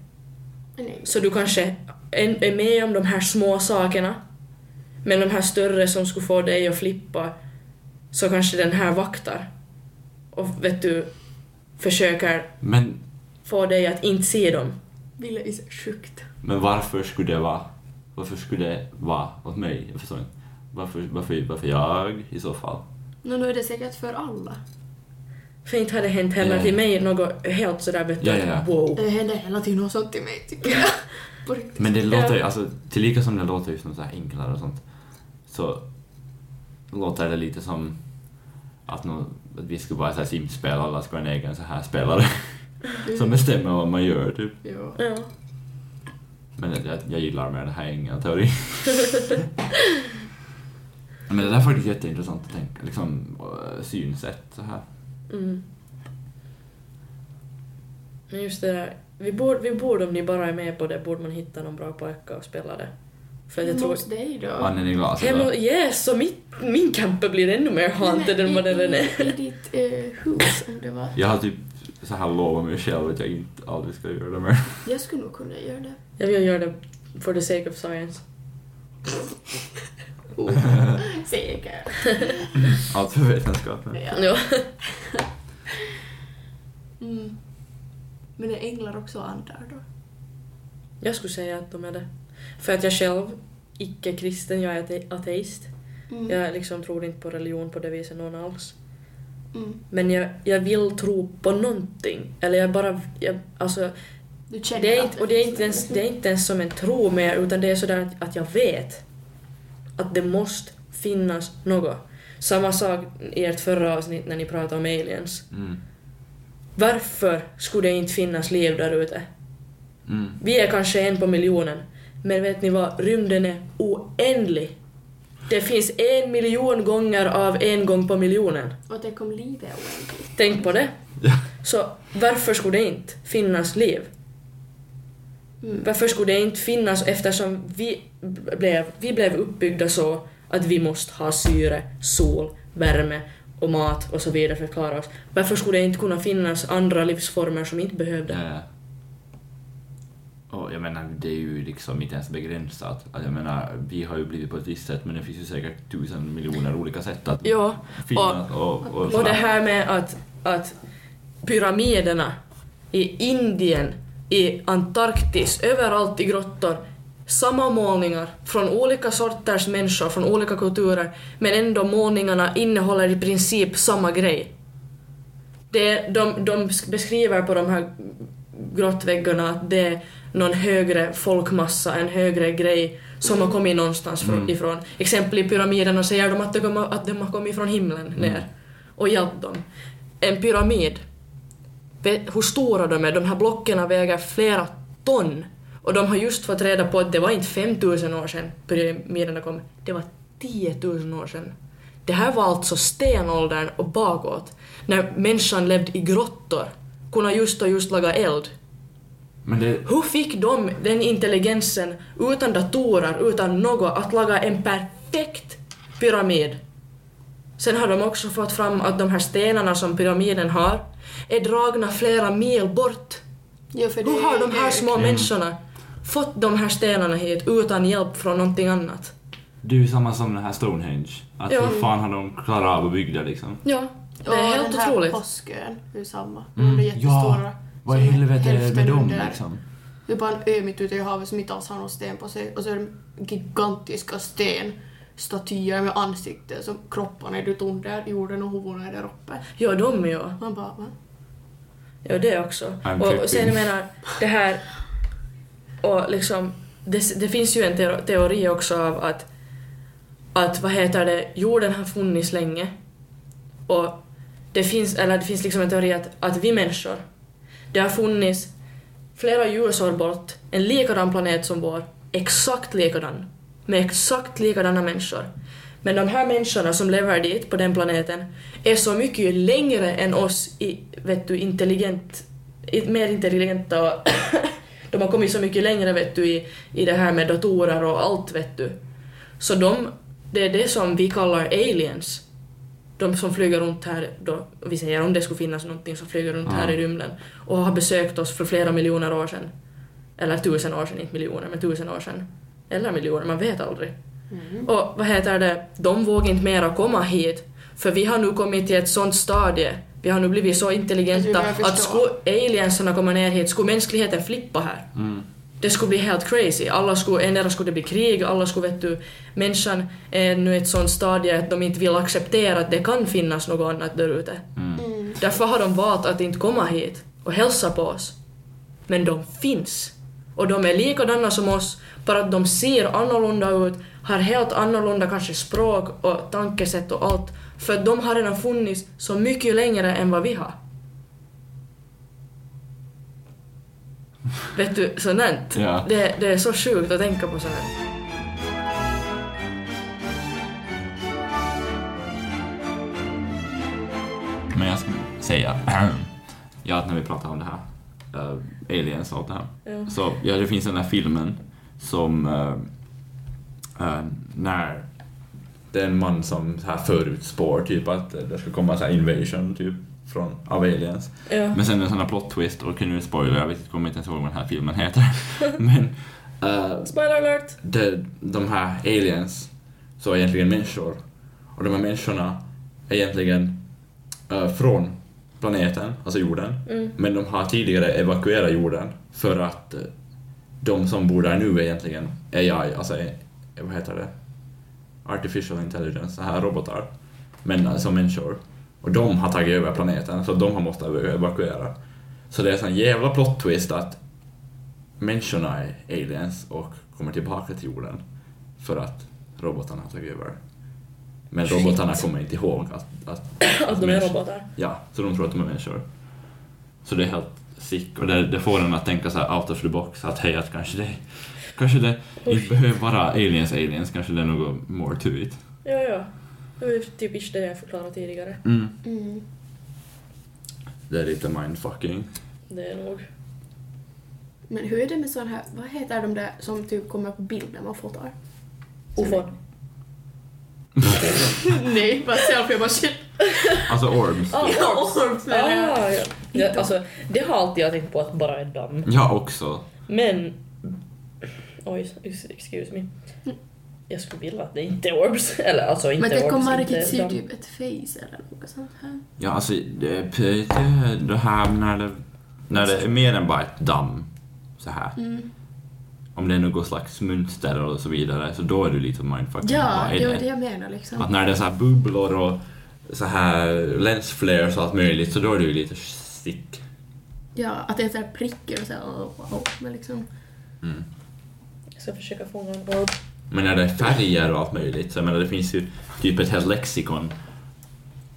Nej. Så du kanske är är med om de här små sakerna. Men de här större som skulle få dig att flippa så kanske den här vaktar. Och vet du, försöker Men, få dig att inte se dem. Ville is sjukt. men varför skulle det vara... Varför skulle det vara åt mig? Jag förstår inte. Varför, varför, varför jag i så fall? Men nu är det säkert för alla. För inte har det hänt heller Ja. till mig något helt sådär vet du, Ja, ja, ja. wow. Det händer hela tiden något sånt till mig tycker jag. På riktigt. Men det låter ju, alltså tillika som det låter ju som så här enklare och sånt, så låter det lite som att, nå att vi skulle vara så här simspel, alla skulle ha en egen så här spelare som bestämmer vad man gör typ. Jo. Ja. Men jag, jag gillar mer den här ängelteorin. Men det där är faktiskt jätteintressant att tänka, liksom eh, synsätt så här. Mm. Men just det där, vi borde, vi borde om ni bara är med på det, borde man hitta någon bra pojke och spela det. För att jag tror... Hos dig då? Anden i glaset Hemma, då. yes, så mitt, min camper blir ännu mer haunted Nej, än vad i- den redan är. I, i ditt eh, hus om det var. Jag har typ så här lovat mig själv att jag inte aldrig ska göra det mer. Jag skulle nog kunna göra det. Jag vill göra det for the sake of science. Oh, Säkert. Allt för vetenskapen. Ja. Mm. Men är änglar också andar då? Jag skulle säga att de är det. För att jag själv, icke-kristen, jag är ate- ateist. Mm. Jag liksom tror inte på religion på det viset någon alls. Mm. Men jag, jag vill tro på någonting. Eller jag bara... Jag, alltså, Du känner det är att liksom- inte, och det är, finns inte ens, något. det är inte ens som en tro mer, utan det är sådär att, att jag vet att det måste finnas något. Samma sak i ert förra avsnitt när ni pratade om aliens. Mm. Varför skulle det inte finnas liv där ute? Mm. Vi är kanske en på miljonen, men vet ni vad? Rymden är oändlig. Det finns en miljon gånger av en gång på miljonen. Och tänk om livet är oändligt. Tänk på det. Ja. Så varför skulle det inte finnas liv? Mm. Varför skulle det inte finnas eftersom vi b- blev, vi blev uppbyggda så att vi måste ha syre, sol, värme och mat och så vidare för att klara oss. Varför skulle det inte kunna finnas andra livsformer som inte behövde? Ja, ja. Eh, Och jag menar, det är ju liksom inte ens begränsat. Alltså, jag menar, vi har ju blivit på ett visst sätt, men det finns ju säkert tusen miljoner olika sätt att Ja, finna och, och, och, Och det här med att, att pyramiderna i Indien, i Antarktis, överallt i grottor, samma målningar från olika sorters människor, från olika kulturer, men ändå målningarna innehåller i princip samma grej. Det, de, de beskriver på de här grottväggarna att det är någon högre folkmassa, en högre grej som har kommit någonstans fr- Mm. ifrån. Exempel i pyramiderna säger de att de, kommer- att de har kommit från himlen ner Mm. och hjälpt dem. En pyramid, vet, hur stora de är, de här blocken väger flera ton. Och de har just fått reda på att det var inte 5000 år sedan pyramiderna kom, det var 10 000 år sedan. Det här var alltså stenåldern och bakåt, när människan levde i grottor, kunde just och just laga eld. Men det... Hur fick de den intelligensen utan datorer, utan något, att laga en perfekt pyramid? Sen har de också fått fram att de här stenarna som pyramiden har är dragna flera mil bort. Ja, för Hur har de här små Mm. människorna fått de här stenarna hit utan hjälp från någonting annat? Det är ju samma som den här Stonehenge. Att Ja. hur fan har de klarat av att bygga det liksom? Mm. Ja, det är helt den här otroligt. påskön, det är samma. Mm, De är jättestora. Vad i som helvete är det hälften med dem under. liksom? Det är bara en ö mitt ute i havet som inte alls har någon sten på sig. Och så är det gigantiska stenstatyer med ansikten som kropparna är ut under jorden och huvudet är där uppe. Ja, de ja. Man bara va? Ja, det också. I'm Och tripping. sen jag menar, det här... Och liksom, det, det finns ju en teo- teori också av att, att vad heter det, jorden har funnits länge. Och det finns, eller det finns liksom en teori att, att vi människor, det har funnits flera ljusår bort, en likadan planet som vår, exakt likadan, med exakt likadana människor. Men de här människorna som lever dit, på den planeten, är så mycket längre än oss i, vet du, intelligent, i- mer intelligenta och de har kommit så mycket längre vet du i, i det här med datorer och allt vet du. Så de, det är det som vi kallar aliens. De som flyger runt här, då, vi säger om det skulle finnas någonting som flyger runt Ja. här i rymden och har besökt oss för flera miljoner år sedan. Eller tusen år sedan, inte miljoner, men tusen år sedan. Eller miljoner, man vet aldrig. Mm. Och vad heter det, de vågar inte mera komma hit. För vi har nu kommit till ett sånt stadie. Vi har nu blivit så Jag intelligenta tror jag förstår. att skulle aliensarna komma ner hit, skulle mänskligheten flippa här? Mm. Det skulle bli helt crazy. Alla skulle, endera skulle det bli krig, alla skulle vet du, människan är nu i ett sånt stadie att de inte vill acceptera att det kan finnas något annat där ute. Mm. Mm. Därför har de valt att inte komma hit och hälsa på oss. Men de finns. Och de är likadana som oss, bara att de ser annorlunda ut, har helt annorlunda kanske språk och tankesätt och allt. För att de har redan funnits så mycket längre än vad vi har. Vet du, sånt Ja. det, det är så sjukt att tänka på sånt här. Men jag ska säga, ja, att när vi pratar om det här, eh, aliens och allt det här. Mm. Ja. Så, ja, det finns den här filmen som eh, eh, när det är en man som så här förutspår typ att eh, det ska komma så här invasion typ från, av aliens. Mm. Ja. Men sen en sån här plot twist, och nu spoiler, jag vet inte, kommer inte ens ihåg vad den här filmen heter. Men eh, Spoiler alert! det, de här aliens så är egentligen människor. Och de här människorna är egentligen eh, från planeten, alltså jorden. Mm. Men de har tidigare evakuerat jorden för att eh, de som bor där nu är egentligen AI, alltså eh, vad heter det? Artificial intelligence, så här robotar. Men alltså människor. Och de har tagit över planeten, så de har måste evakuera. Så det är en sån jävla plot twist att människorna är aliens och kommer tillbaka till jorden för att robotarna har tagit över. Men Shit. robotarna kommer inte ihåg att, att Att de är robotar. Ja, så de tror att de är människor. Så det är helt sick och det, det får en att tänka så här out of the box att hej, att kanske det, kanske det inte behöver vara aliens aliens, kanske det är något more to it. Ja, ja. Det var ju typ ish det jag förklarade tidigare. Mm. Det är lite mindfucking. Det är nog... Men hur är det med sån här, vad heter de där som typ kommer på bild när man fotar? Ufon. Nej, bara selfie, jag bara shit. Alltså orbs. Ah. Orbs menar jag. Ah, ja. det, alltså, det har alltid jag tänkt på att bara är damm. Jag också. Men... Oj, excuse me. Jag skulle vilja att det inte är orbs. Eller alltså inte Men det orbs, kommer inte riktigt se damm. typ ett face eller något sånt här. Ja, alltså det, är p- det här när det, när det är mer än bara ett damm så här. Mm. Om det är något slags mönster och så vidare, så då är du lite mindfucking. Ja, Vad är det var det jag menar liksom. Att när det är så här bubblor och så här lens flares och allt möjligt så då är det ju lite stick. Ja, att det är så här prickar och så här, oh, wow. Men liksom, Jag ska försöka fånga en orb. Men när det är färger och allt möjligt, så jag menar det finns ju typ ett helt lexikon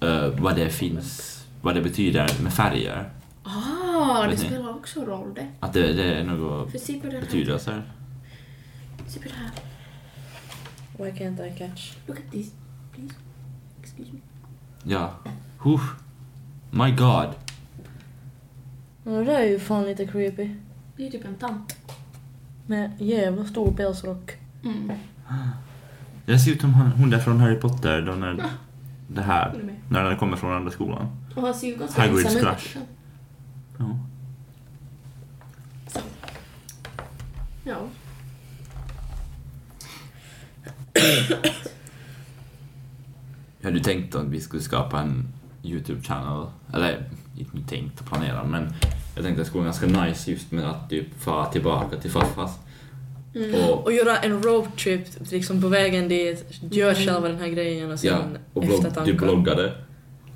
eh, vad det finns, vad det betyder med färger. ah, det Vet ni? spelar också roll det. Att det, det är något För se på den här. betydelser. Se på det här. Why can't I catch? Look at this. Please. Excuse me. Ja. Huh. My god. Det där är ju fan lite creepy. Det är typ en tant. Med jävla stor pälsrock. Mm. Det ser ut som han- hon där från Harry Potter då när det här, Håller med. när den kommer från andra skolan. Och han ser ju ganska Hagrid's ensam ut, crush. liksom. Ja. Så. Ja. Jag hade ju tänkt att vi skulle skapa en YouTube-channel, eller inte tänkt och planerat men jag tänkte att det skulle vara ganska nice just med att typ fara tillbaka till farfars. Och, Mm. Och göra en roadtrip liksom på vägen dit. Gör själva den här grejen och Mm. ja, sen och blogg, du eftertankar. bloggade.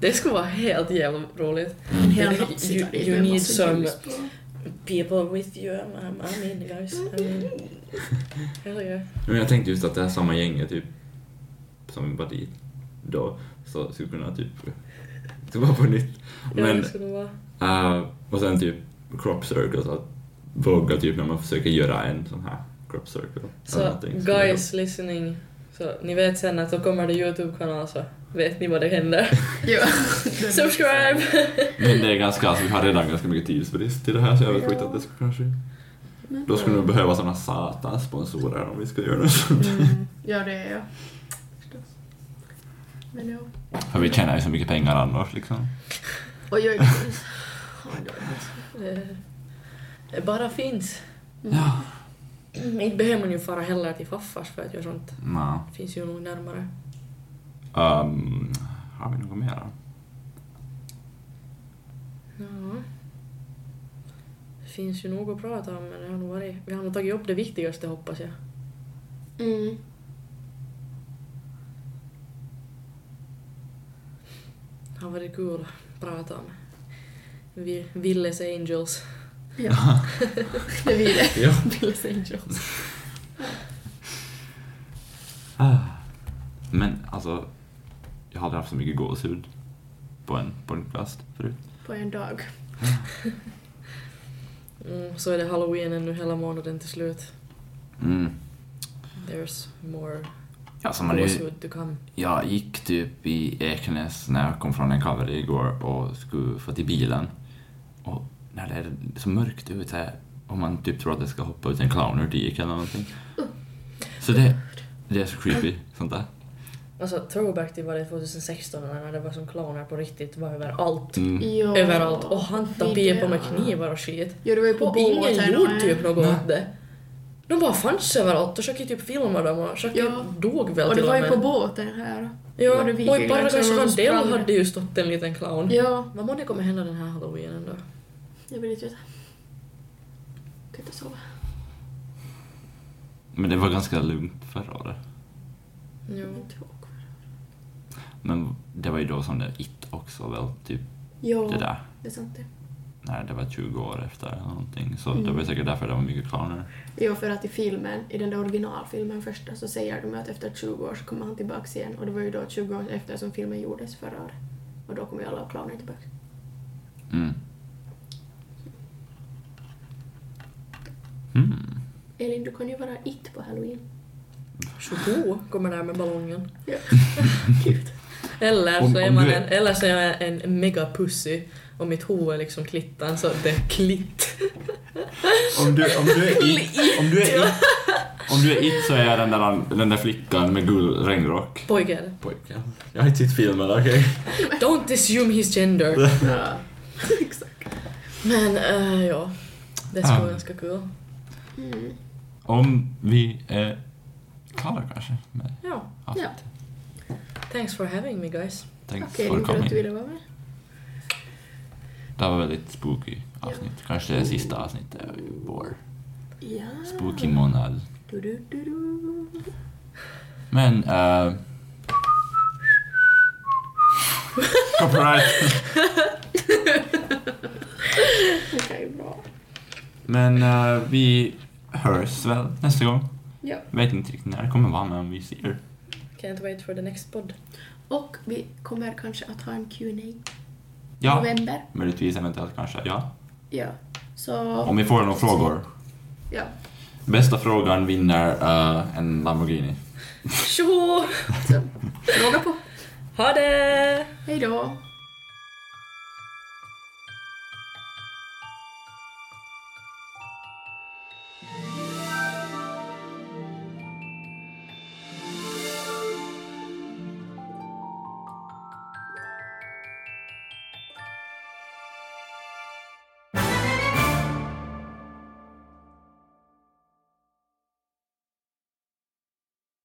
Det skulle vara helt jävla roligt. En Mm. hel You- natt sitta dit you med en need massa some- ljus på. People with you, I'm, I'm in guys. I'm in. Hell yeah. Men jag tänkte just att det här samma gänget typ, som var dit då, så skulle kunna typ, det var på nytt. Ja, Men, det skulle vara. eh, och sen typ crop circles, att våga typ när man försöker göra en sån här crop circle. eller Så någonting. guys listening, så ni vet sen att då kommer det Youtube-kanal så vet ni vad det händer. Ja. Subscribe! Men det är ganska, alltså, vi har redan ganska mycket tidsbrist till det här så jag vet inte att det skulle kanske... Men- Då skulle vi behöva såna satans sponsorer om vi ska göra något sånt. Mm. Ja, det är jag. Förstås. Men ja. För vi tjänar ju så mycket pengar annars liksom. Oj, oj, oj. Ja, det var hemskt. Eh, Det bara finns. Mm. Ja. Inte behöver man ju fara heller till faffars för att göra sånt. Nå. Det finns ju nog närmare. Ehm, har vi något mer? Ja. Det finns ju nog att prata om men det har nog varit... Vi har nog tagit upp det viktigaste hoppas jag. Mm. Det har varit kul att prata om. Vi, Villes Angels. Ja. Det vi det. Ja. Bills Angels. Ah. Men alltså, jag har aldrig haft så mycket gåshud på en podcast förut. På en dag. Mm, så är det halloween ännu hela månaden till slut. Mm. There's more Ja, som Alltså, man nu, gåshud to come. jag gick typ i Ekenäs när jag kom från en cover igår och skulle få till bilen. Och när det är så mörkt ute och man typ tror att det ska hoppa ut en clown ur diket eller någonting. Så det, det är så creepy, sånt där. Alltså throwback till vad det 2016 när det var som clowner på riktigt var överallt. Mm. Ja. Överallt och hantade people med knivar och skit. Ja, du var ju på Och ingen båten gjorde och- typ något Nej. åt det. De bara fanns överallt och försökte typ filma dem och försökte Ja. dog väl Och du till var och ju med. Mm. på båten här. Ja, var det och i vikingar som Paradise var och Hotel sprang? hade ju stått en liten clown. Ja. Vad må det kommer hända den här halloweenen då? Jag vill inte veta. Kan inte sova. Men det var ganska lugnt förra året. Jag vill Jo. inte ihåg. Men det var ju då som det it också väl, typ Ja, det där. det är sant det. När det var 20 år efter eller någonting. Så det Mm. var ju säkert därför det var mycket clowner. Ja, för att i filmen, i den där originalfilmen första, så säger de ju att efter 20 år så kommer han tillbaks igen. Och det var ju då 20 år efter som filmen gjordes förra året. Och då kommer ju alla clowner tillbaks. Mm. Mm. Elin, du kan ju vara it på halloween. Tjoho kommer där med ballongen. Ja. Eller Om- så är om man du en, är- eller så är jag en mega pussy och mitt huvud är liksom klittan så det är klitt. Om du, om du är it- om du är it, om du är it så är jag den där, den där flickan med gul regnrock. Pojke är det. Pojkar. Jag har inte sett filmen, okej? Don't assume his gender. Ja, exakt. Men eh, ja, det skulle vara Ah. ganska kul. Mm. Om vi är klara kanske med Ja, avsnittet. thanks for having me guys. Thanks Okej, for Elin, kul att du coming. ville vara med. Det här var väldigt spooky avsnitt. Kanske det sista avsnittet i vår Ja. spooky månad. Du, du, du, du. Men... Uh... Copyright! Det kan ju bra. Men eh, vi hörs väl nästa gång. Ja. Vet inte riktigt när det kommer vara, men om vi ser. Can't wait for the next pod. Och vi kommer kanske att ha en Q&A i Ja, november. möjligtvis eventuellt kanske. Ja. Ja. Så... Om vi får några frågor. Ja. Bästa frågan vinner eh, en Lamborghini. Tjoho! Så, fråga på. Ha det! Hej då.